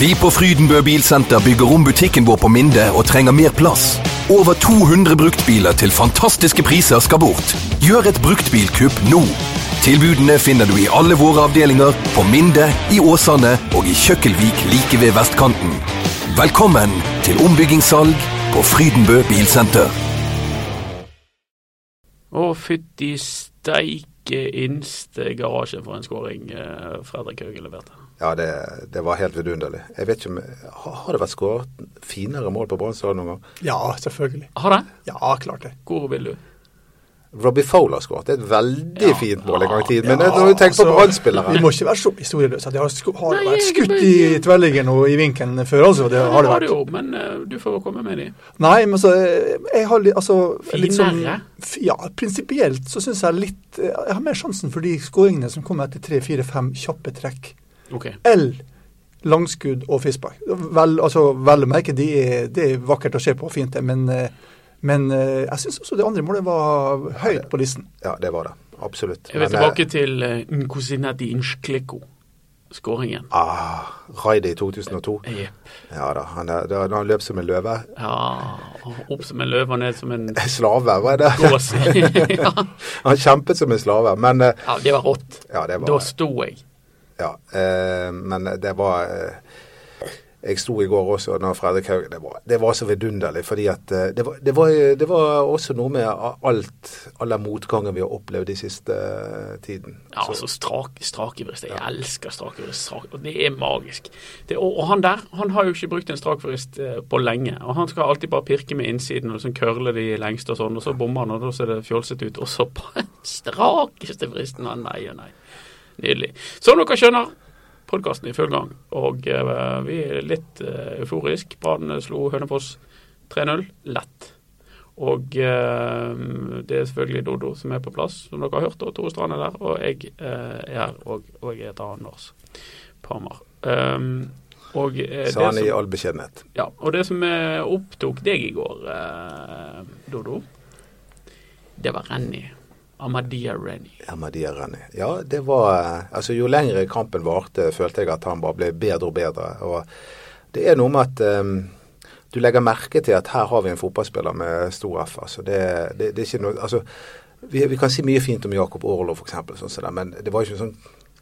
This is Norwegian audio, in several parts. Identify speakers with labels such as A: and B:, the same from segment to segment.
A: Vi på Frydenbø Bilsenter bygger om butikken vår på Minde og trenger mer plass. Over 200 bruktbiler til fantastiske priser skal bort. Gjør et bruktbilkupp nå. Tilbudene finner du i alle våre avdelinger, på Minde, i Åsane og i Kjøkkelvik like ved vestkanten. Velkommen til ombyggingssalg på Frydenbø Bilsenter.
B: Å, fytti steike inste garasje for en skåring eh, Fredrik Hauge leverte.
C: Ja, det, det var helt vidunderlig. Jeg vet ikke om, Har har det vært skåret finere mål på Brann stadion noen gang?
D: Ja, selvfølgelig.
B: Har det?
D: Ja, klart det.
B: Hvor vil du?
C: Robbie Fowler skåret et veldig
B: Ja.
C: fint mål en gang i tiden.
D: Ja,
C: Men når du tenker på
D: altså, Vi
C: Brann-spillere
D: må ikke være så historieløse. at Det har, sku- har
B: Nei,
D: vært
B: jeg-
D: skutt i tverrliggeren og i vinkelen før, altså. Det har det
B: var
D: vært.
B: jo, men eh, du får komme med de.
D: Nei, men så eh, Jeg har litt altså litt sånn
B: Finere?
D: f- Ja, prinsipielt så syns jeg litt eh, Jeg har mer sjansen for de skåringene som kommer etter tre, fire, fem kjappe trekk.
B: Ok.
D: L. Langskudd og frispark. Vel, altså, vel å merke, det er, det er vakkert å se på og fint, det, men, eh, men eh, jeg syns også det andre målet var høyt på listen.
C: Ja, det var det. Absolutt.
B: Jeg vil
C: Men, eh,
B: tilbake til eh, Nkosinati Inchkliko. Skåringen.
C: Ah, Raidi i 2002.
B: Jepp.
C: Ja da, han, er- da han løp som en løve.
B: Ja, opp som en løve og ned som en
C: Slave, var det?
B: gås. ja.
C: Han kjempet som en slave. Men eh,
B: ja, det var rått.
C: ja, det var
B: Da sto jeg.
C: Ja, eh, men det var eh, Jeg sto i går også når Fredrik Haugen det, var- det var så vidunderlig, fordi at eh, det var, det var, det var også noe med a- alt, all den motgangen vi har opplevd de siste eh, tiden.
B: Ja, altså strak, strakevrist. Jeg elsker strakevrist. Strak, og det er magisk. Det, og, og han der, han har jo ikke brukt en strakvrist eh, på lenge. Og han skal alltid bare pirke med innsiden og sånn curle de lengst og sånn, og så bommer han, og da ser det fjolset ut. Og så på den strakeste vristen. Å, Nei og nei. Nydelig. Som dere skjønner, podkasten er i full gang, og eh, vi er litt eh, euforisk. Brann slo Hønefoss 3-0 lett. Og eh, det er selvfølgelig Dodo som er på plass, som dere har hørt, og Tore Strand er der. Og jeg eh, er her, og, og jeg heter Anders Parmar. Um, og, eh,
C: Sa han
B: det
C: i
B: som,
C: all beskjedenhet.
B: ja, og det som eh, opptok deg i går, eh, Dodo, det var Renny. Amadia Renny.
C: Ja, men de er Renny. Ja, det var eh, Altså, jo lengre kampen varte, følte jeg at han bare ble bedre og bedre. Og det er noe med at eh, du legger merke til at her har vi en fotballspiller med stor F. Altså, det, det, det er ikke noe Altså, vi, vi kan si mye fint om Jakob Orlov, for eksempel, sånn som det, men det var ikke sånn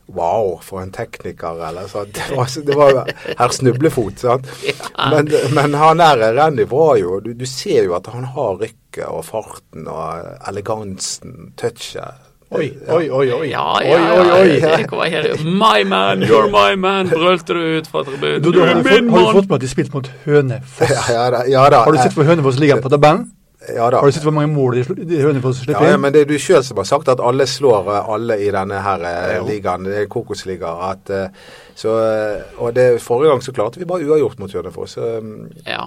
C: Wow, for en tekniker, eller sånn. Det var, så- det var herr snublefot, sant. Men, men han der Renny var jo du, du ser jo at han har rykket og farten og elegansen, touchet.
D: Oi, oi, oi. oi.
B: Ja,
D: oi,
B: ja,
D: oi, oi.
B: ja. Det kommer her. My man, you're my man, brølte du ut fra tribunen.
D: Dodo, har,
B: er
D: du fått,
B: min
D: har du
B: mann!
D: fått med at de spilte mot Hønefoss?
C: Ja, ja da. Ja, da. Eh,
D: Har du sett hvor Hønefoss ligger på tabellen?
C: Ja, da.
D: Har du sett hvor mange mål de, sl- de Hønefoss
C: ja,
D: slipper
C: ja,
D: inn?
C: men det er du sjøl som har sagt at alle slår eh, alle i denne her eh, ligaen, det er kokosliga. At, eh, så, eh, og det, forrige gang så klarte vi bare uavgjort mot Hønefoss. så, mm,
B: Ja.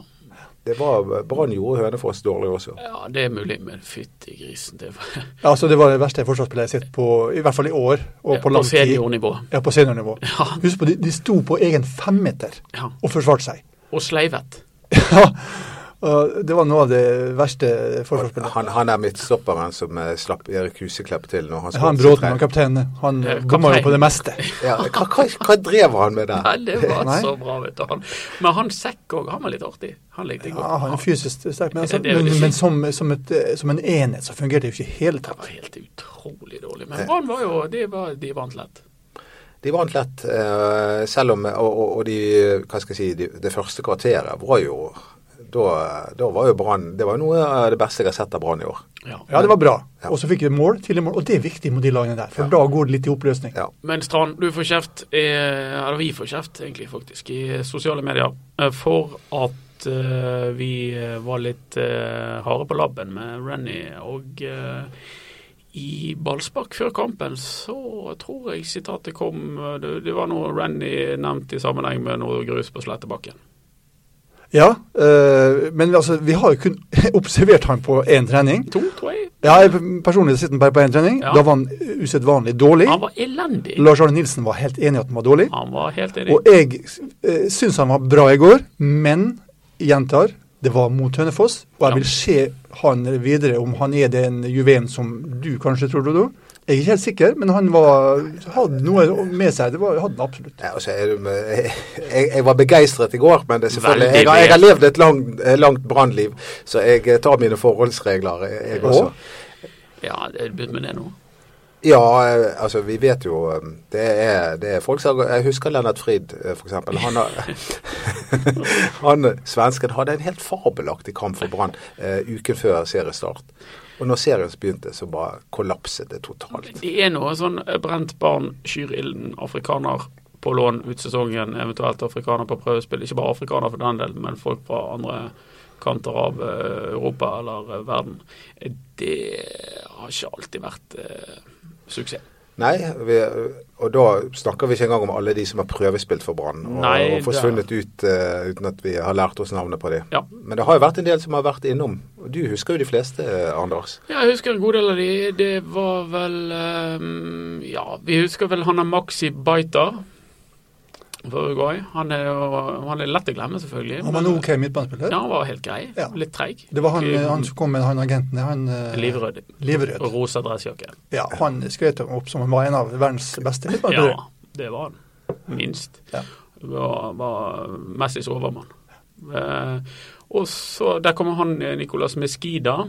C: Det var Brann gjorde Hønefoss dårlig også.
B: Ja, det er mulig, men fytti grisen. Det var
D: Altså, det var det verste forsvarsspillet jeg har sett på, i hvert fall i år, og på lang tid.
B: seniornivå.
D: Ja, på seniornivå. Husk på, de, de sto på egen femmeter
B: Ja.
D: og forsvarte seg.
B: Og sleivet.
D: Ja, og det var noe av det verste forsvarsspillet.
C: Han, han er midtstopperen som eh, slapp Erik Huseklepp til når han
D: Han
C: skåret sitt
D: Bråten,
C: tre-
D: han kapteinen, han
B: Eh,
D: bomma jo
B: kaptein.
D: på det meste.
C: Ja, hva, hva, hva drev han med
B: Ja,
C: der?
B: det var
D: Nei.
B: så bra, vet du. Han. Men han sekk òg, han var litt artig. Han likte jeg
D: Ja, han er
B: godt.
D: fysisk sterk, men, altså,
B: Det er jo
D: men,
B: det
D: men
B: fint.
D: som, som, et, eh, som en enhet så fungerte det jo ikke i hele
B: Han
D: tatt.
B: var helt utrolig dårlig. Men Brann var jo De, var, de vant lett.
C: De vant lett, eh, selv om Og, og, og de, hva skal jeg si, de, det første kvarteret var jo Da, da var jo Brann Det var jo noe av det beste jeg har sett av Brann i år.
B: Ja.
D: Ja, det var bra.
C: Ja.
D: Og så fikk de mål, tidlig mål, og det er viktig mot de lagene der, for da går det litt i oppløsning.
C: Ja.
B: Men Strand, du får kjeft, eh, eller vi får kjeft egentlig faktisk, i sosiale medier eh, for at eh, vi eh, var litt eh, harde på labben med Renny. Og eh, i ballspark før kampen så tror jeg sitatet kom eh, Det, det var noe Renny nevnt i sammenheng med noe grus på Slettebakken.
D: Ja, øh, men altså, vi har jo kun observert han på én trening.
B: To, tror jeg.
D: Ja, jeg personlig sitter han bare på én trening.
B: Ja.
D: Da var han usedvanlig dårlig.
B: Han var elendig.
D: Lars Arne Nilsen var helt enig i at han var dårlig.
B: Han var helt enig.
D: Og jeg øh, syns han var bra i går, men gjentar, det var mot Hønefoss. Og
B: Ja.
D: jeg vil se han videre, om han er den juvelen som du kanskje tror, Dodo. Jeg er ikke helt sikker, men han var, hadde noe med seg. Det var, hadde han absolutt.
C: Ja, altså, er du med- jeg, jeg- jeg var begeistret i går, men det er selvfølgelig,
B: Veldig
C: jeg, har, jeg har levd et langt, eh, langt brannliv, så jeg eh, tar mine forholdsregler, eh, jeg også.
D: Og?
B: Ja, det er begynt med det nå.
C: Ja, eh, altså vi vet jo eh, Det er, det er folk som Jeg husker Lennart Frid, eh, for eksempel. Han, har- han eh, svensken hadde en helt fabelaktig kamp for Brann eh, uken før seriestart. Og når serien begynte, så bare kollapset det totalt.
B: Det er noe sånn eh, brent barn skyr ilden, afrikaner på lån ut sesongen, eventuelt afrikaner på prøvespill. Ikke bare afrikaner for den del, men folk fra andre kanter av eh, Europa eller eh, verden. Eh, Det har ikke alltid vært eh, suksess.
C: Nei, vi, eh, og da snakker vi ikke engang om alle de som har prøvespilt for Brann og,
B: Nei,
C: og forsvunnet ut eh, uten at vi har lært oss navnet på dem.
B: Ja.
C: Men det har jo vært en del som har vært innom. Og Du husker jo de fleste, eh, Anders.
B: Ja, jeg husker en god del av de. Det var vel ehm, Ja, vi husker vel han er Maxi Baita fra Uruguay. Han er, jo- han er lett å glemme, selvfølgelig.
D: Han var en OK midtbanespiller.
B: Ja, han var helt grei.
D: Ja.
B: Litt treig.
D: Det var han, eh,
B: Ikke-
D: han som kom med han agenten. Han, eh,
B: Livrød
D: Livrød.
B: og rosa dressjakke.
D: Ja, han skrøt opp som han var en av verdens beste midtbanespillere.
B: Ja, det var han. Minst.
D: Ja.
B: Var, var Messis overmann. Eh, og så Der kom han eh, Nicolas Mesquida.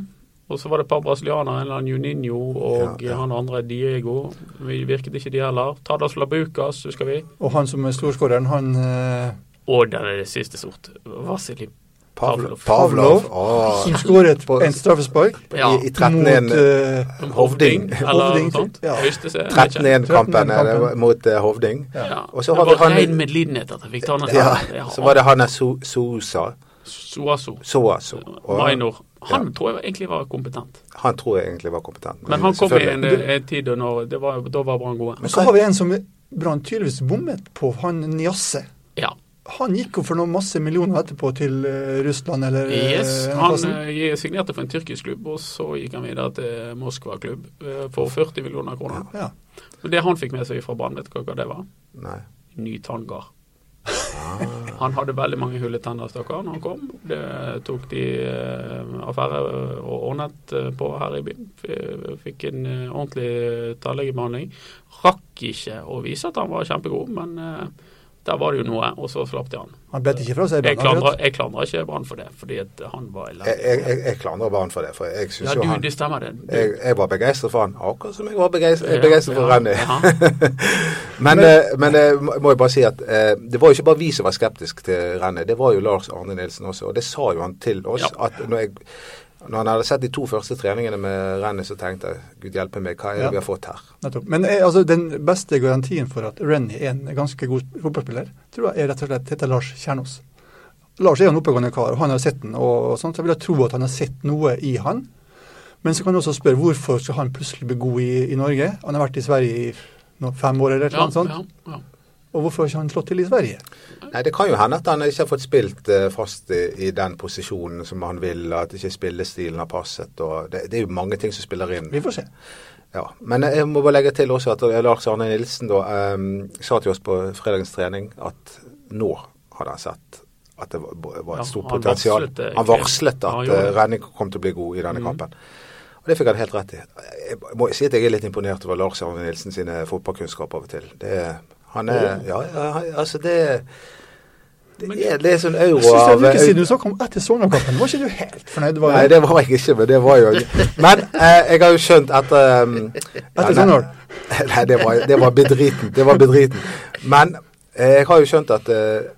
B: Og så var det et par brasilianere, en eller annen Juninho og
C: Ja, ja.
B: han andre Diego. Vi virket ikke de heller. Tadas Labukas, husker vi.
D: Og han som er storskåreren, han eh,
B: Og den er det siste sort. Vasili Pavlov.
C: Pavlov.
D: Pavlov.
C: Åh.
D: som skåret
C: På-
D: en straffespark
B: Ja.
C: I, i
D: mot
C: 13-1.
D: eh,
C: Hovding.
B: Eller
D: Hovding,
B: noe sånt.
D: ja.
B: Øystese, jeg vet ikke.
C: 13-1-kampen
D: 13-1-kampen.
C: mot eh, Hovding.
B: Ja.
C: Og så
B: Det
C: har vi
B: var
C: han-
B: rein medlidenhet at jeg fikk ta den.
C: Ja, så var det Hanna Sousa.
B: Suazo.
C: Soaso.
B: Minor. Han tror jeg egentlig var kompetent.
C: Han tror jeg egentlig var kompetent.
B: Men han kom eh, i en,
C: selvfølgelig-
B: en tid da når det var, da var Brann gode.
D: Og så har vi en som Brann tydeligvis bommet på, han Njasse.
B: Ja.
D: Han gikk jo for noen masse millioner etterpå til eh, Russland eller eh,
B: Yes.
D: en
B: Han
D: plass.
B: eh, signerte for en tyrkisk klubb, og så gikk han videre til Moskva klubb eh, for 40 millioner kroner.
D: Ja.
B: Og det han fikk med seg fra Brann, vet du hva det var?
C: Nei.
B: Ny tangar.
C: Ah.
B: Han hadde veldig mange hulle tenner, stakkar, når han kom. Det tok de eh, affære og ordnet eh, på her i byen. F- Fikk en eh, ordentlig tannlegebehandling. Rakk ikke å vise at han var kjempegod, men eh, der var det jo noe, og så slapp de han.
D: Han bet ikke fra seg.
B: Jeg
D: Brann, akkurat.
B: klandrer, jeg klandrer ikke Brann for det, fordi at han var
C: Jeg, jeg,
B: elendig.
C: jeg, jeg klandrer Brann for det, for jeg syns
B: Ja,
C: jo
B: du,
C: han
B: det stemmer det. Du,
C: jeg, jeg var begeistret for han, akkurat som jeg var begeistret, jeg er begeistret for
B: ja,
C: Renny.
B: ja.
C: Men, eh, men eh, må- må jeg bare si at eh, det var jo ikke bare vi som var skeptiske til Renny, det var jo Lars Arne Nilsen også. Og det sa jo han til oss.
B: Ja.
C: at når, jeg, når han hadde sett de to første treningene med Renny, så tenkte jeg gud hjelpe meg, hva er det
D: Ja.
C: vi har fått her?
D: Nettopp. Men eh, altså, den beste garantien for at Rennie er en ganske god fotballspiller, tror jeg er rett og slett heter Lars Kjernås. Lars er jo en oppegående kar, og han har sett den, og, og sånt, så jeg vil tro at han har sett noe i han. Men så kan du også spørre hvorfor skal han plutselig bli god i, i Norge? Han har vært i Sverige i nå, fem år eller et eller
C: Sånn,
B: Ja,
D: annet sånt.
B: ja, ja.
D: Og hvorfor har ikke han slått til i Sverige?
C: Nei, Det kan jo hende at han ikke har fått spilt eh, fast i, i den posisjonen som han vil, at ikke spillestilen har passet. og Det, det er jo mange ting som spiller inn.
D: Vi får se.
C: Ja, Men jeg må bare legge til også at eh, Lars Arne Nilsen da, eh, sa til oss på fredagens trening at nå hadde han sett at det var, var
B: Ja,
C: et stort
B: han
C: potensial.
B: varslet, eh,
C: han
B: ja,
C: varslet
B: Mhm. han
C: at
B: gjorde
C: eh,
B: det.
C: Renning kom til å bli god i denne kampen. Og Det fikk han helt rett i. Jeg må si at jeg er litt imponert over Lars Arne Nilsen sine fotballkunnskaper av og til. Det, er- han er Ja, ja han- altså det det er, det er sånn euro
D: Jeg synes det er
C: av
D: en uke siden du snakket om etter Sogndal-kampen. Var ikke du helt fornøyd? Var
C: Nei, det var jeg ikke, men det var jo Men eh, jeg har jo skjønt etter um,
D: Etter Sogndal?
C: Nei, det var, det var bedriten. Det var bedriten. Men eh, jeg har jo skjønt at eh,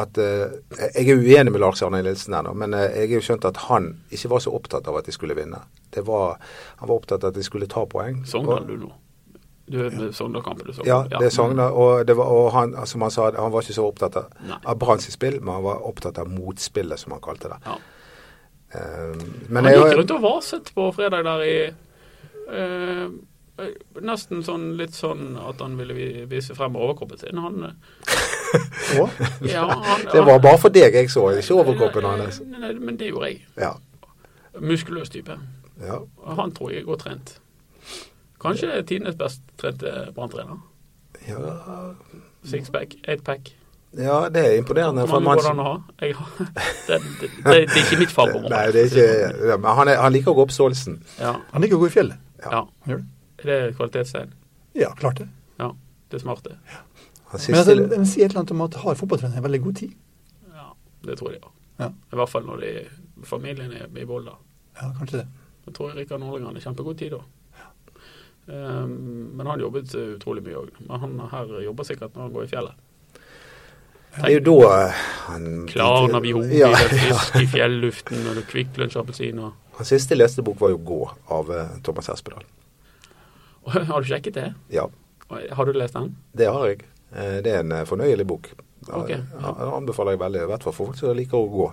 C: at eh, Jeg er uenig med Lars Arne Nilsen her nå, men eh, jeg har jo skjønt at han ikke var så opptatt av at de skulle vinne. Det var, han var opptatt av at de skulle ta poeng.
B: Sogndal
C: Og-
B: du nå. Du er med Sogndal-kampen du så.
C: ja, det er Sogndal. Og, det var, og han, som han sa, han var ikke så opptatt av,
B: Nei.
C: av Brann sitt spill, men han var opptatt av motspillet, som han kalte det.
B: Ja.
C: Um,
B: Han
C: men
B: gikk
C: jeg,
B: rundt og vaset på fredag der i eh, eh, Nesten sånn litt sånn at han ville vi- vise frem overkroppen sin. Han, eh,
D: Og?
B: ja, han, Eh,
C: det var bare for deg jeg så, ikke overkroppen hans.
B: Nei, nei, men det gjorde jeg.
C: Ja.
B: Muskuløs type.
C: ja.
B: Og Han tror jeg er godt trent. Kanskje tidenes best trente branntrener.
C: Ja,
B: Sixpack, eightpack.
C: ja, det er imponerende
B: Hvor
C: for en
B: mange går det an
C: mann som
B: å ha? Jeg, har- det, det, det, det er ikke mitt fagområde.
C: Nei, det er ikke ja, Men han, er, han liker å gå opp Stolsen.
B: Ja,
D: Han liker å gå i fjellet.
B: ja.
D: Han gjør det.
B: Er det kvalitetstegn?
D: Ja, klart det.
B: Ja, det er smart, det.
C: Han
D: Men altså,
C: siste,
D: den sier et eller annet om at har fotballtrenere veldig god tid?
B: Ja, det tror jeg de har.
D: Ja.
B: I hvert fall når de, familien er i Volda.
D: Ja, kanskje det.
B: Da tror jeg Rikard Norlegran er kjempegod tid da. Um, men han jobbet eh, utrolig mye òg. Men han her jobber sikkert når han går i fjellet.
C: det er jo da eh, han
B: Klarner vi hodet
C: Ja,
B: i den
C: ja.
B: fisk i fjelluften, og det er Kvikk Lunsj appelsiner.
C: Hans siste leste bok var jo 'Gå' av eh, Thomas Espedal.
B: Og Har du sjekket det?
C: Ja,
B: Og Har du lest den?
C: det har jeg. Eh, Det er en eh, fornøyelig bok. Ja,
B: Ok, ja.
C: ja, Den anbefaler jeg veldig, i hvert fall for folk som liker å gå.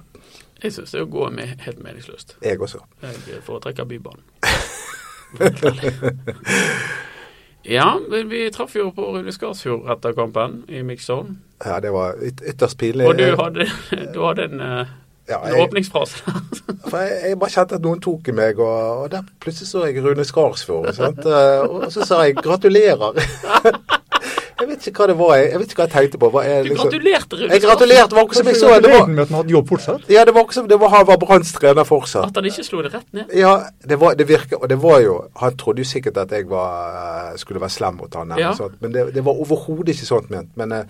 B: Jeg syns det å gå med helt meningsløst.
C: Jeg også.
B: Jeg foretrekker Bybanen. Helt ærlig. Ja, men vi traff jo på Rune Skarsfjord etter kampen i Mixed Zone.
C: Ja, det var yt ytterst pinlig.
B: Og du
C: Jeg-
B: hadde, du hadde en, eh,
C: ja,
B: en
C: jeg,
B: åpningsfrase der.
C: for jeg, jeg bare kjente at noen tok i meg, og, og der plutselig så jeg Rune Skarsfjord. Sant? Eh, Og så sa jeg 'gratulerer'. Jeg vet ikke hva det var jeg, jeg vet ikke hva jeg tenkte på. Hva er,
B: Du
C: liksom,
B: gratulerte Rune
C: jeg gratulerte, det var akkurat som jeg så det
D: Gratulerer
C: var,
D: med at han hadde jobb fortsatt.
C: ja, det var akkurat som det var, han var Branns trener fortsatt.
B: At han ikke slo det rett ned.
C: Ja, det, var, det virker, og det var jo Han trodde jo sikkert at jeg var, eh, skulle være slem mot han, eller
B: Ja.
C: sånt, men det, det var overhodet ikke sånt ment. Men eh,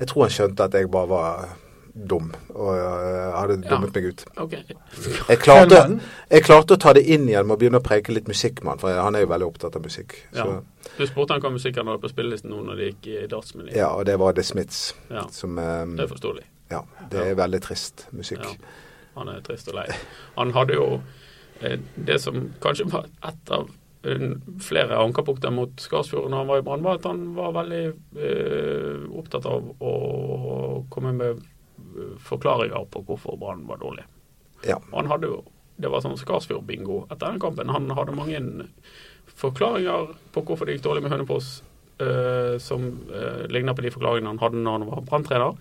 C: jeg tror han skjønte at jeg bare var dum, og eh, hadde
B: Ja.
C: dummet meg ut.
B: Ok.
C: Jeg klarte,
D: Fjellmannen?
C: jeg klarte å ta det inn igjen med å begynne å preke litt musikk med han, for han er jo veldig opptatt av musikk.
B: Ja.
C: Så,
B: Du spurte han hva musikk han hadde på spillelisten nå når det gikk i dartsmenyen.
C: ja, og det var The Smiths,
B: Ja.
C: som eh,
B: Det er forståelig.
C: Ja, det er veldig trist musikk.
B: Ja. Han er trist og lei. Han hadde jo eh, det som kanskje var et av eh, flere ankerpunkter mot Skarsfjord når han var i Brann, var at han var veldig eh, opptatt av å komme med eh, forklaringer på hvorfor Brann var dårlig.
C: Ja.
B: Og han hadde jo Det var sånn Skarsfjord-bingo etter den kampen. Han hadde mange forklaringer på hvorfor det gikk dårlig med Hønefoss, eh, som eh, ligner på de forklaringene han hadde når han var branntrener.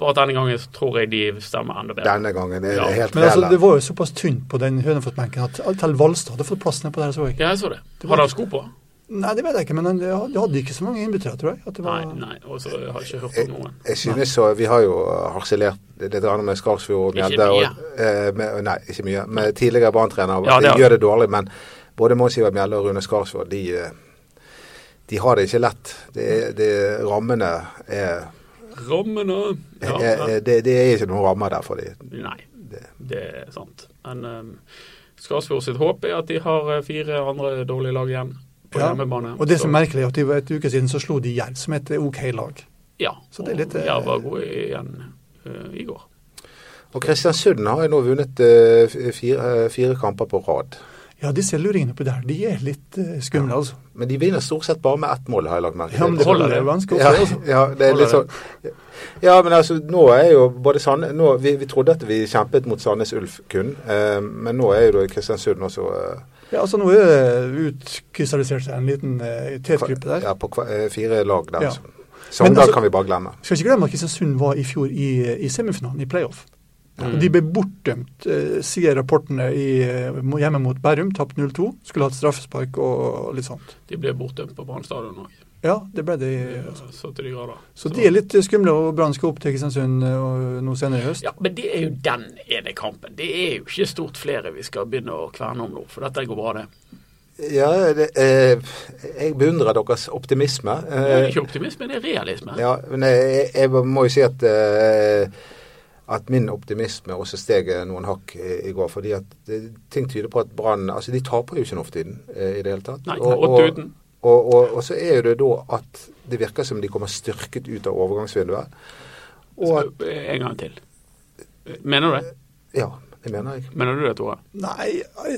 B: Bare at denne gangen så tror jeg de stemmer enda bedre.
C: Denne gangen er
B: Ja.
C: det helt
D: Men altså,
C: reell.
D: det var jo såpass tynt på den Hønefoss-benken at Tell Valstad hadde fått plass nedpå der, så jeg.
B: Ja, jeg så det.
D: Det var-
B: Hadde han sko på?
D: Nei, det vet jeg ikke, men han de hadde ikke så mange innbyttere, tror jeg. At det
B: Nei,
D: var...
B: nei. Og så har jeg ikke hørt om noen.
C: Jeg synes så, Vi har jo harselert litt grann med Skarsfjord og
B: Ikke
C: Mjelde. og-
B: mye.
C: eh, med- Nei, ikke mye. Med tidligere
B: Ja,
C: Brann-trener.
B: det har
C: de
B: vi.
C: gjør det dårlig, men både Mons Ivar Mjelde og Rune Skarsfjord de, eh, de har det ikke lett. Det, er- det, rammene er,
B: Rammene ja,
C: er,
B: ja.
C: er det, det er ikke noen rammer der for dem.
B: Nei, det er sant. Men um, Skarsfjord sitt håp er at de har eh, fire andre dårlige lag igjen på
D: Ja,
B: hjemmebane.
D: Og det som
B: Så-
D: er merkelig, er at de- for et uke siden så slo de Jerv, som et OK lag.
B: Ja.
D: Så det er litt,
B: og
D: eh,
B: Jerv var gode igjen eh, i går.
C: Og Kristiansund har jo nå vunnet eh, f- fire, eh, fire kamper på rad.
D: Ja, disse luringene oppi der, de er litt eh, skumle, altså.
C: Men de vinner stort sett bare med ett mål, har jeg lagt merke
D: Ja, men
B: det
D: det
B: holder,
D: holder
B: det.
D: jo ganske ofte,
C: Ja,
D: altså.
C: ja, det er
B: Holder
C: litt sånn Ja, men altså, nå er jo både Sand... Nå, vi, vi trodde at vi kjempet mot Sandnes Ulf kun, eh, men nå er jo da Kristiansund også eh,
D: Ja, altså Nå er det utkrystallisert seg en liten eh, tetgruppe der.
C: ja, på kva, eh, fire lag der.
D: Ja.
C: så- Sogndal
D: altså-
C: kan vi bare glemme.
D: Skal ikke glemme at Kristiansund var i fjor i, i semifinalen i playoff.
B: Mm.
D: Og De ble bortdømt, eh, sier rapportene i, eh, mo- hjemme mot Bærum. Tapt 0-2. Skulle hatt straffespark og litt sånt.
B: De ble bortdømt på Brann stadion òg,
D: Ja, det ble det.
B: så til de grader.
D: Så de er litt eh, skumle, og Brann skal opp til Kristiansund eh, og- nå senere i høst.
B: Ja, men det er jo den ene kampen. Det er jo ikke stort flere vi skal begynne å kverne om nå, for dette går bra, det.
C: Eh, Ja, det, eh, jeg beundrer deres optimisme.
B: Det er
C: Eh,
B: ikke optimisme, det er realisme.
C: ja, men jeg, jeg må jo si at eh, at min optimisme også steg eh, noen hakk i, i går. fordi at eh, ting tyder på at Brann altså De taper jo ikke nå for tiden eh, i det hele tatt.
B: Nei,
C: Og- og-
B: åtte uten.
C: Og, og, og så er jo det da at det virker som de kommer styrket ut av overgangsvinduet. Og at,
B: Så, eh, En gang til. Mener du det?
C: ja, det mener jeg.
B: Mener du det, Tore?
D: Nei,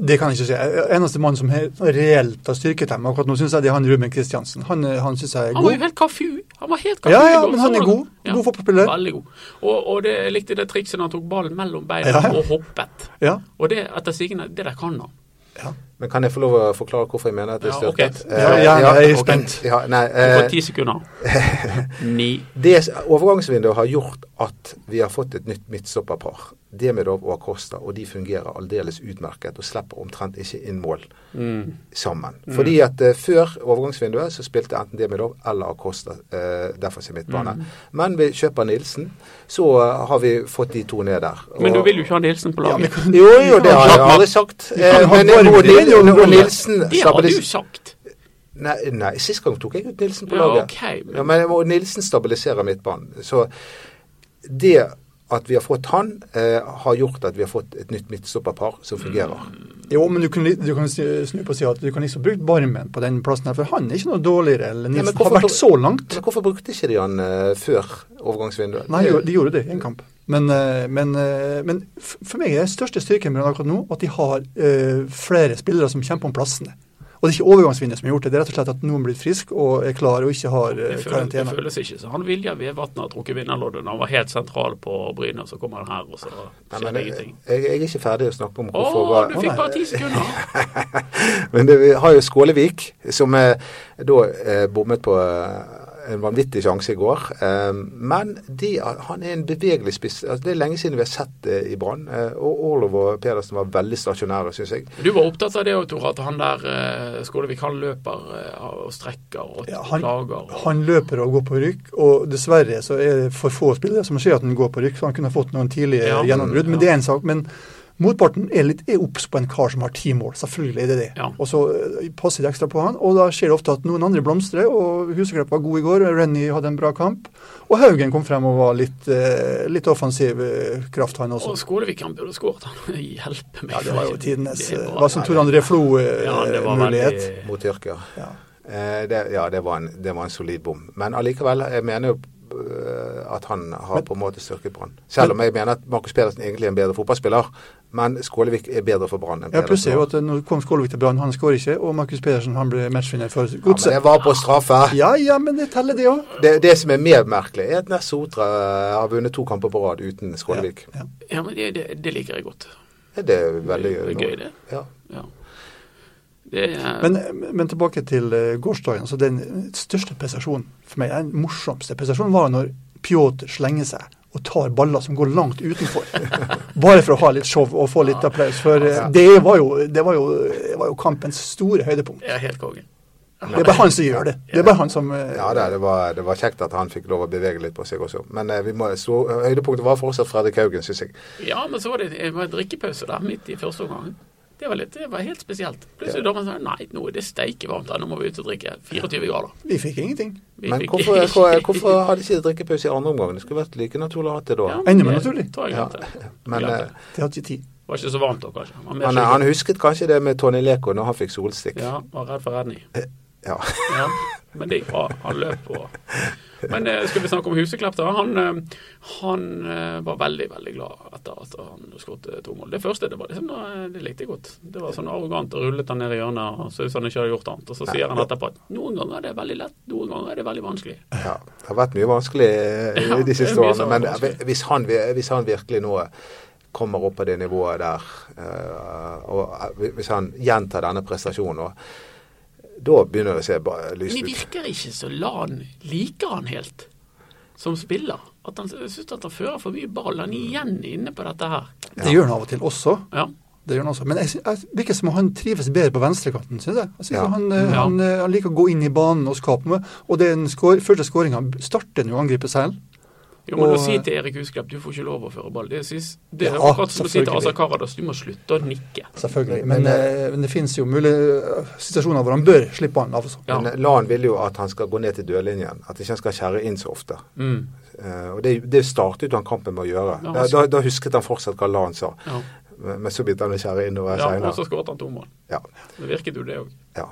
D: det kan jeg ikke si. Eneste mann som he- reelt har styrket dem akkurat nå, syns jeg det er han Ruben Kristiansen. Han, eh, han syns jeg er
B: Han var jo
D: god.
B: helt kafu. Han var helt kafu.
D: Ja,
B: i
D: ja,
B: går.
D: men han er
B: Så-
D: god. God fotballspiller.
B: Veldig god. Og, og det, jeg likte det trikset når han tok ballen mellom beina
D: Ja.
B: og hoppet.
D: Ja,
B: Og det etter sigende, det der kan han.
D: ja.
C: Men kan jeg få lov å forklare hvorfor jeg mener at det er
B: Ja, ok.
C: styrket? Eh,
D: Ja, ja, jeg er spent.
C: Ja, nei,
B: Du får
C: eh,
B: ti sekunder. Ni.
C: det s- overgangsvinduet har gjort at vi har fått et nytt midtstopperpar. Demidov og Acosta, og de fungerer aldeles utmerket og slipper omtrent ikke inn mål
B: Mm.
C: sammen. Fordi at eh, før overgangsvinduet så spilte enten Demidov eller Acosta eh, defensiv midtbane.
B: Mm.
C: Men vi kjøper Nilsen, så eh, har vi fått de to ned der.
B: Men
C: Og-
B: du vil jo ikke ha Nilsen på
D: Ja, men
B: laget.
D: kan-
C: Jo, jo, det har jeg
D: Ja,
C: aldri sagt.
D: kan
C: Eh,
D: ha
C: Men
D: varm
C: og
D: vind
C: Nil-
D: og
C: og
D: rolig.
C: Nilsen
B: det har du
C: stabilis-
B: sagt.
C: Nei, nei, sist gang tok jeg ut Nilsen på
B: Ja,
C: laget.
B: ok, men-
C: Ja, men og Nilsen stabiliserer midtbanen. Så det at vi har fått han, eh, har gjort at vi har fått et nytt midtstopperpar som fungerer.
B: Mm.
D: Jo, men du kan, li- du kan snu snu på og si at du kan liksom bruke Barmen på den plassen her, for han er ikke noe dårligere eller
C: men
D: Nilsen.
C: hvorfor-
D: har vært så langt.
C: Men hvorfor brukte ikke de han eh, før overgangsvinduet?
D: Nei, jo, de gjorde det i en kamp. Men, eh, men, eh, men f- for meg er den største styrken med dem akkurat nå at de har eh, flere spillere som kjemper om plassene. Og det er ikke overgangsvinduet som har gjort det, det er rett og slett at noen blir frisk og er klar og ikke har eh,
B: Det føles, det
D: karantene.
B: føles ikke så. Han Vilja Vevatn har trukket vinnerloddet. Han var helt sentral på Bryne, så kommer han her, og så
C: Nei,
B: skjer
C: men,
B: det
C: jeg,
B: ingenting.
C: jeg er ikke ferdig å snakke om
B: Å,
C: hvorfor
B: du
C: hva-
B: fikk
D: Å, nei.
B: bare ti sekunder!
C: Men det, vi har jo Skålevik, som eh, da eh, bommet på eh, en vanvittig sjanse i går. Eh, men de, han er en bevegelig spiss. Altså, det er lenge siden vi har sett det i Brann. Eh, og Orlov og Pedersen var veldig stasjonære, syns jeg.
B: Du var opptatt av det òg, Tore, at han der eh, Skålevik han løper eh, og strekker og
D: Ja, han,
B: klager. og-
D: han løper og går på rykk, og dessverre så er det for få spillere som ser at han går på rykk, så han kunne ha fått noen tidlige
B: Ja,
D: gjennombrudd,
B: ja.
D: men det er en sak. Men motparten er litt er obs på en kar som har ti mål, selvfølgelig er det det.
B: Ja.
D: Og så eh, passer de ekstra på han, og da skjer det ofte at noen andre blomstrer, og Huseklepp var god i går, Renny hadde en bra kamp, og Haugen kom frem og var litt, eh, litt offensiv eh, kraft, han også.
B: Og Skålevik han burde skåret, han. Hjelpe meg.
D: Ja, det var jo tidenes
B: Det
D: eh,
B: var-
D: Hva som Tor André
B: Ja, det var
D: Flo-mulighet.
B: veldig
C: mot Tyrkia.
D: Ja.
C: Eh, det, ja, det var, en, det var en solid bom. Men allikevel, jeg mener jo eh, at han har på en måte styrket Brann. Selv om jeg mener at Markus Pedersen egentlig er en bedre fotballspiller, men Skålevik er bedre for Brann enn
D: Ja, pluss er jo
C: var.
D: at eh, nå kom Skålevik til Brann, han skårer ikke, og Markus Pedersen han ble matchvinner for
C: Ja, men
D: Godset.
C: det var på straffe.
D: Ja, ja, men det teller det òg.
C: Det, det som er mer merkelig, er at Ness Sotra eh, har vunnet to kamper på rad uten Skålevik.
D: Ja.
B: Ja, men det, det, det liker jeg godt.
C: Det er veldig
B: Det er gøy, det.
C: Ja.
B: Ja. Det er
D: Men, men tilbake til eh, gårsdagen. så Den største prestasjonen for meg, den morsomste prestasjonen, var når Pjotr slenger seg og tar baller som går langt utenfor. Bare for å ha litt show og få litt applaus. For eh, det var jo, det var jo, det var jo kampens store høydepunkt.
B: jeg er helt konge.
D: Det er bare han som gjør det. Det er bare han som eh,
C: Ja da, det var, det var kjekt at han fikk lov å bevege litt på seg også. Men eh, vi må, så, høydepunktet var fortsatt Fredrik Haugen, syns jeg.
B: Ja, men så var det det var en drikkepause der midt i første omgang. Det var, litt, det var helt spesielt. Plutselig dommeren sa nei, nå er det steike varmt her, nå må vi ut og drikke. 24 grader.
D: Vi fikk ingenting.
B: Vi
C: Men
B: fikk-
C: hvorfor, hvor- hvorfor hadde ikke drikkepause i andre omgang? Det skulle vært like naturlig å ha det da.
B: Ja,
D: Enda mer
B: det
D: naturlig.
B: tror jeg
C: Ja,
B: at det-
C: Men
B: ja,
C: eh,
D: Det hadde ikke tid.
B: Det var ikke så varmt da, kanskje. Han var mer
C: han,
B: skygge.
C: han husket kanskje det med Tony Leko når han fikk solstikk.
B: Ja, var redd for Redny.
C: Ja.
B: Ja, men det gikk bra. Han løp og Men eh, skal vi snakke om Huseklepp, da. Han, eh, han eh, var veldig, veldig glad etter at han skåret eh, to mål. Det første det var liksom, eh, det likte jeg godt. Det var sånn arrogant og rullet han ned i hjørnet og så ut som han ikke hadde gjort annet. Og så sier han etterpå at noen ganger er det veldig lett, noen ganger er det veldig vanskelig.
C: Ja, det har vært mye vanskelig eh,
B: Ja,
C: de
B: det er
C: siste
B: mye
C: årene.
B: som er
C: Men
B: vanskelig.
C: hvis han, vi- hvis han virkelig nå kommer opp på det nivået der, eh, og eh, hvis han gjentar denne prestasjonen nå, da begynner det å se ba- lyst
B: Men det
C: ut.
B: virker ikke så LAN liker han helt som spiller. At han syns at han fører for mye ball. Han er igjen inne på dette her.
D: Det gjør han av og til også.
B: Ja.
D: Det gjør han også. Men jeg, sy- jeg virker som om han trives bedre på venstrekanten, syns jeg. jeg synes
C: Ja.
D: han, eh,
B: Ja.
D: han, eh, han liker å gå inn i banen og skape noe. Og den skår, første skåringa starter nå å angripe selv.
B: Jo, men
D: Og-
B: å si til Erik Husklepp du får ikke lov å føre ball, det, synes, det er
D: Ja,
B: akkurat som å si til
D: selvfølgelig.
B: Asa Karadas du må slutte å nikke.
D: Selvfølgelig.
C: Men,
D: Men, eh, men det finnes jo mulige eh, situasjoner hvor han bør slippe altså. han av. Også.
B: Ja.
C: Men eh, Lan vil jo at han skal gå ned til dørlinjen, at ikke han skal skjære inn så ofte.
B: Mm.
C: Eh, Og det, det startet jo han kampen med å gjøre.
B: Ja,
C: Da,
B: han-
C: da, da husket han fortsatt hva Lan sa,
B: Ja.
C: men men så begynte han å skjære innover
B: ja, altså- og så
C: seinere.
B: skåret han to mål.
C: Ja,
B: Det virket jo det òg.
C: ja.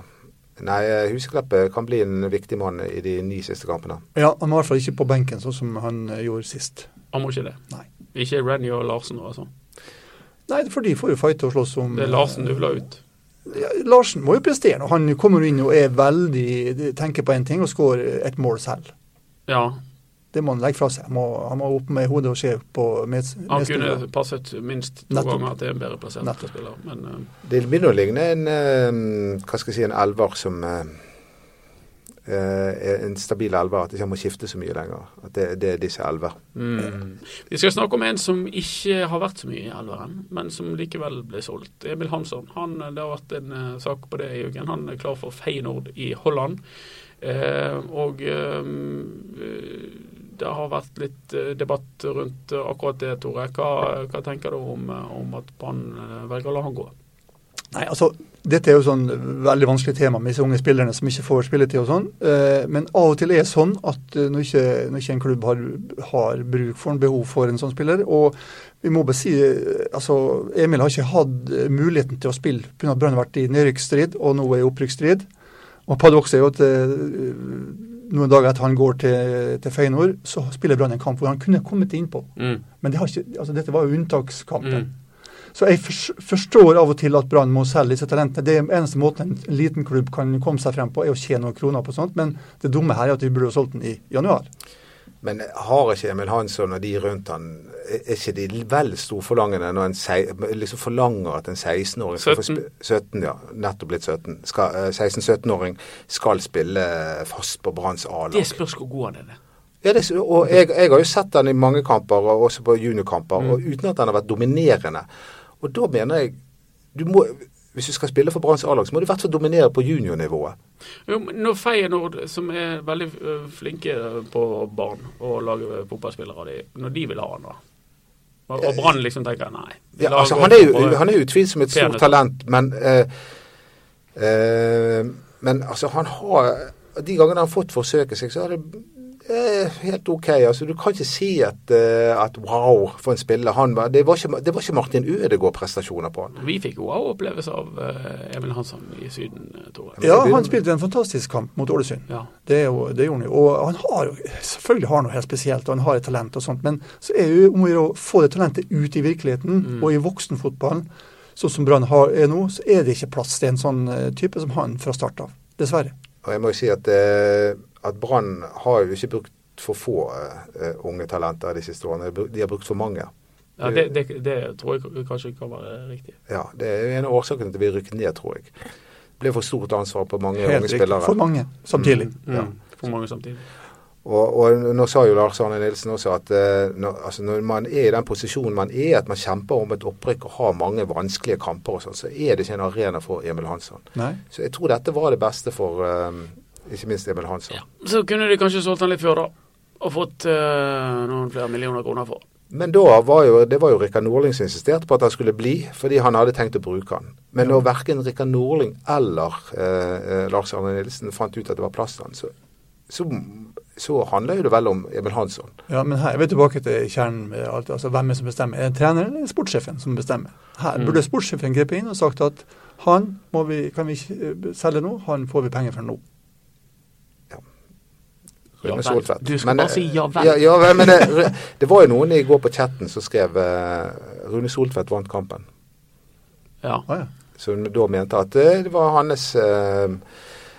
C: Nei, eh, Husekleppe kan bli en viktig mann i de ni siste kampene.
D: Ja, han var i hvert fall ikke på benken, sånn som han eh, gjorde sist.
B: Han må ikke det.
D: Nei.
B: Ikke Renny og Larsen og sånn.
D: Nei, for de får jo fighte og slåss om
B: Det er Larsen du vil ha ut.
D: Ja, Larsen må jo prestere. nå. Han kommer jo inn og er veldig tenker på én ting og skårer et mål selv.
B: Ja.
D: Det må han legge fra seg. Han må, han må opp med hodet og se på med,
B: Han kunne passet minst to
D: Nettopp.
B: ganger til en bedre plassert
D: Nettopp.
B: spiller, men eh,
C: Det begynner å ligne en eh, Hva skal jeg si, en elver som eh, eh, er en stabil elver. At ikke han må skifte så mye lenger. At det, det er disse elver.
B: mm. Vi skal snakke om en som ikke har vært så mye i Elveren, men som likevel ble solgt. Emil Hansson. Han, eh, det har vært en eh, sak på det i uken. Han er klar for Feyenoord i Holland. Eh, og eh, det har vært litt eh, debatt rundt eh, akkurat det, Tore. Hva, hva tenker du om, eh, om at Brann eh, velger å la han gå?
D: Nei, altså, Dette er jo sånn veldig vanskelig tema med disse unge spillerne som ikke får spilletid og sånn. Eh, Men av og til er det sånn at eh, når ikke, når ikke en klubb har, har bruk for en behov for en sånn spiller Og vi må bare si eh, altså Emil har ikke hatt eh, muligheten til å spille pga. at Brann har vært i nedrykksstrid og nå er i opprykksstrid. Og paradokset er jo at eh, noen dager etter han går til, til Feyenoord, så spiller Brann en kamp hvor han kunne kommet innpå.
B: Mm.
D: Men det har ikke, altså dette var jo unntakskampen.
B: Mm.
D: Så jeg fors- forstår av og til at Brann må selge disse talentene. Det er eneste måten en liten klubb kan komme seg frem på, er å tjene noen kroner på sånt. Men det dumme her er at vi burde ha solgt den i januar.
C: Men har ikke Emil Hansson og de rundt han Er er ikke de vel storforlangende når en sei- liksom forlanger at en 16-åring skal få
B: 17.
C: spi- 17, ja. Nettopp blitt 17. skal- eh, 16-17-åring skal spille fast på Branns A-lag.
B: Det spørs hvor god han er. det.
C: Ja, det, og jeg, jeg har jo sett han i mange kamper, og også på juniorkamper, og uten at han har vært dominerende. Og da mener jeg du må, Hvis du skal spille for Branns A-lag, så må du i hvert fall dominere på juniornivået.
B: Jo, men Når Feyenoord, som er veldig øh, flinke øh, på barn og lager fotballspillere, de, når de vil ha han da Og, og Brann liksom tenker nei. vi
C: Ja,
B: lager
C: altså, han, er jo,
B: bare-
C: han er jo utvilsomt et stort
B: Peanøtter.
C: talent, men eh, eh, Men altså, han har De gangene han har fått forsøke seg, så er det eh, helt OK. Altså, du kan ikke si at, eh, at wow, for en spiller han var. Det var ikke, det var ikke Martin Ødegaard-prestasjoner på han.
B: Vi fikk jo også opplevelse av øh, Emil Hansson i Syden, øh, Tore.
C: Men
D: Ja,
C: det-
D: han spilte en fantastisk kamp mot Ålesund.
B: Ja.
D: Det, er jo, det gjorde han jo. Og han har jo Selvfølgelig har han noe helt spesielt, og han har et talent og sånt, men så er det jo om å gjøre å få det talentet ut i virkeligheten
C: Mm.
D: og i voksenfotballen. Sånn som Brann har- er nå, så er det ikke plass til en sånn eh, type som han fra start av. Dessverre.
C: Og jeg må jo si at, eh, at Brann har jo ikke brukt for få eh, unge talenter de siste årene. De har brukt- De har brukt for mange.
B: Ja, det, det, det tror jeg k- kanskje kan være riktig.
C: Ja, Det er jo en av årsakene til at vi rykket ned, tror jeg. Det ble for stort ansvar på mange
D: Helt
C: unge
D: riktig.
C: spillere.
D: For mange samtidig.
B: Mm.
C: Ja.
B: For mange samtidig.
C: Og, og nå sa jo Lars Arne Nilsen også at eh, når, altså når man er i den posisjonen man er, at man kjemper om et opprykk og har mange vanskelige kamper og sånn, så er det ikke en arena for Emil Hansson.
D: Nei.
C: Så jeg tror dette var det beste for eh, ikke minst Emil Hansson.
B: Så kunne de kanskje solgt han litt før, da. Og fått øh, noen flere millioner kroner for.
C: Men da var jo, det var jo Rikard Norling som insisterte på at han skulle bli, fordi han hadde tenkt å bruke han. Men når verken Rikard Norling eller eh, eh, Lars Arne Nilsen fant ut at det var plass til han, så, så, så handler jo det vel om Emil Hansson.
D: Ja, men her er vi tilbake til kjernen med alt. Altså, hvem er det som bestemmer? Er det treneren eller sportssjefen som bestemmer? Her
C: Mm.
D: burde sportssjefen grepet inn og sagt at han må vi, kan vi ikke eh, selge nå, han får vi penger for nå.
B: Ja
C: Rune
B: vel.
C: Soltvedt.
B: Du skal
C: Men,
B: bare
C: eh,
B: si ja vel.
C: Ja, ja vel, men det, Ru- det var jo noen i går på chatten som skrev eh, Rune Soltvedt vant kampen.
B: Ja.
D: Ah, ja.
C: Som da mente at eh, det var hans eh,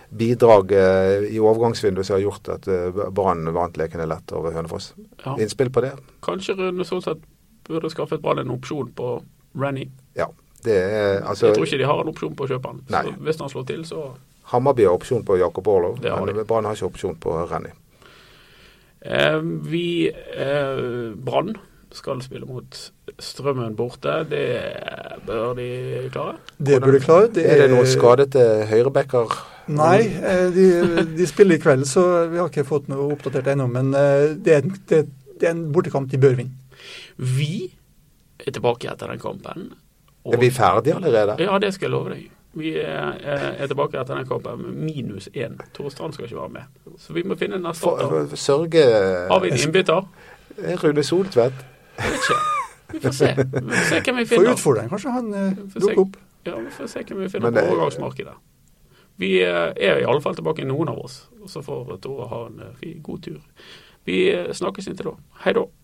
C: bidrag eh, i overgangsvinduet som har gjort at eh, Brann vant lekene lett over Hønefoss.
B: ja.
C: Innspill på det?
B: Kanskje Rune Solseth burde skaffet Brann en opsjon på Rennie.
C: Ja. Det er altså
B: Jeg tror ikke de har en opsjon på å kjøpe han.
C: Nei.
B: Så hvis han slår til, så
C: Hammarby har opsjon på Jakob Orlov,
B: Det har de.
C: men Brann har ikke opsjon på Renny.
B: eh, Vi eh, Brann skal spille mot Strømmen borte. Det bør de klare.
D: Det burde klare. Det
C: Er det noen skadete høyrebacker?
D: Nei, eh, de, de spiller i kveld, så vi har ikke fått noe oppdatert ennå. Men eh, det er, en- det, det er en bortekamp de bør vinne.
B: Vi er tilbake etter den kampen. og-
C: Er vi ferdige allerede?
B: Ja, det skal jeg love deg. Vi er, eh, er tilbake etter den kampen med minus én. Tore Strand skal ikke være med. Så vi må finne en
C: For,
B: erstatter.
C: sørge
B: Har vi en innbytter?
C: Rune Soltvedt?
B: Vet ikke. Vi får se. Vi får se hvem vi
D: For
B: finner.
D: utfordreren, kanskje han eh,
B: Får se.
D: dukker opp.
B: Ja, vi får se hvem vi finner
C: Men det-
B: på overgangsmarkedet. Vi eh, er i alle fall tilbake noen av oss, og så får Tore ha en eh, fin- god tur. Vi eh, snakkes inntil da. Hei da.